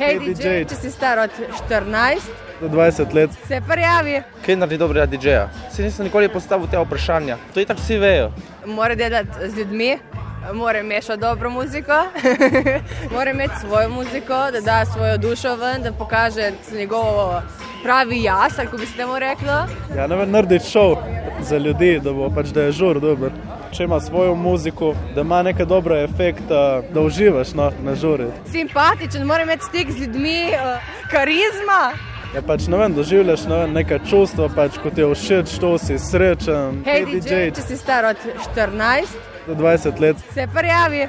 Hej, DJ. DJ, če si star od 14, do 20 let. se prijavi. Kaj naredi dobrega DJ-ja? Si nisem nikoli postavil tega vprašanja. To je tako vsi vejo. Mora delati z ljudmi, mora mešati dobro muziko, mora imeti svojo muziko, da da svojo dušo ven, da pokaže njegovo pravi jaz, kako bi se temu reklo. Ja, ne vem, narediti šov za ljudi, da bo pač da je žur dober. Če ima svojo muziko, da ima nekaj dobra efekta, da uživaš no, na žuri. Simpatičen, mora imeti stik z ljudmi, eh, karizma. Ja, pač ne vem, doživljaš ne vem, neka čustva, pač ko ti je všeč, to si srečen. Hej, DJ, če si star od 14, do 20 let. se prijavi.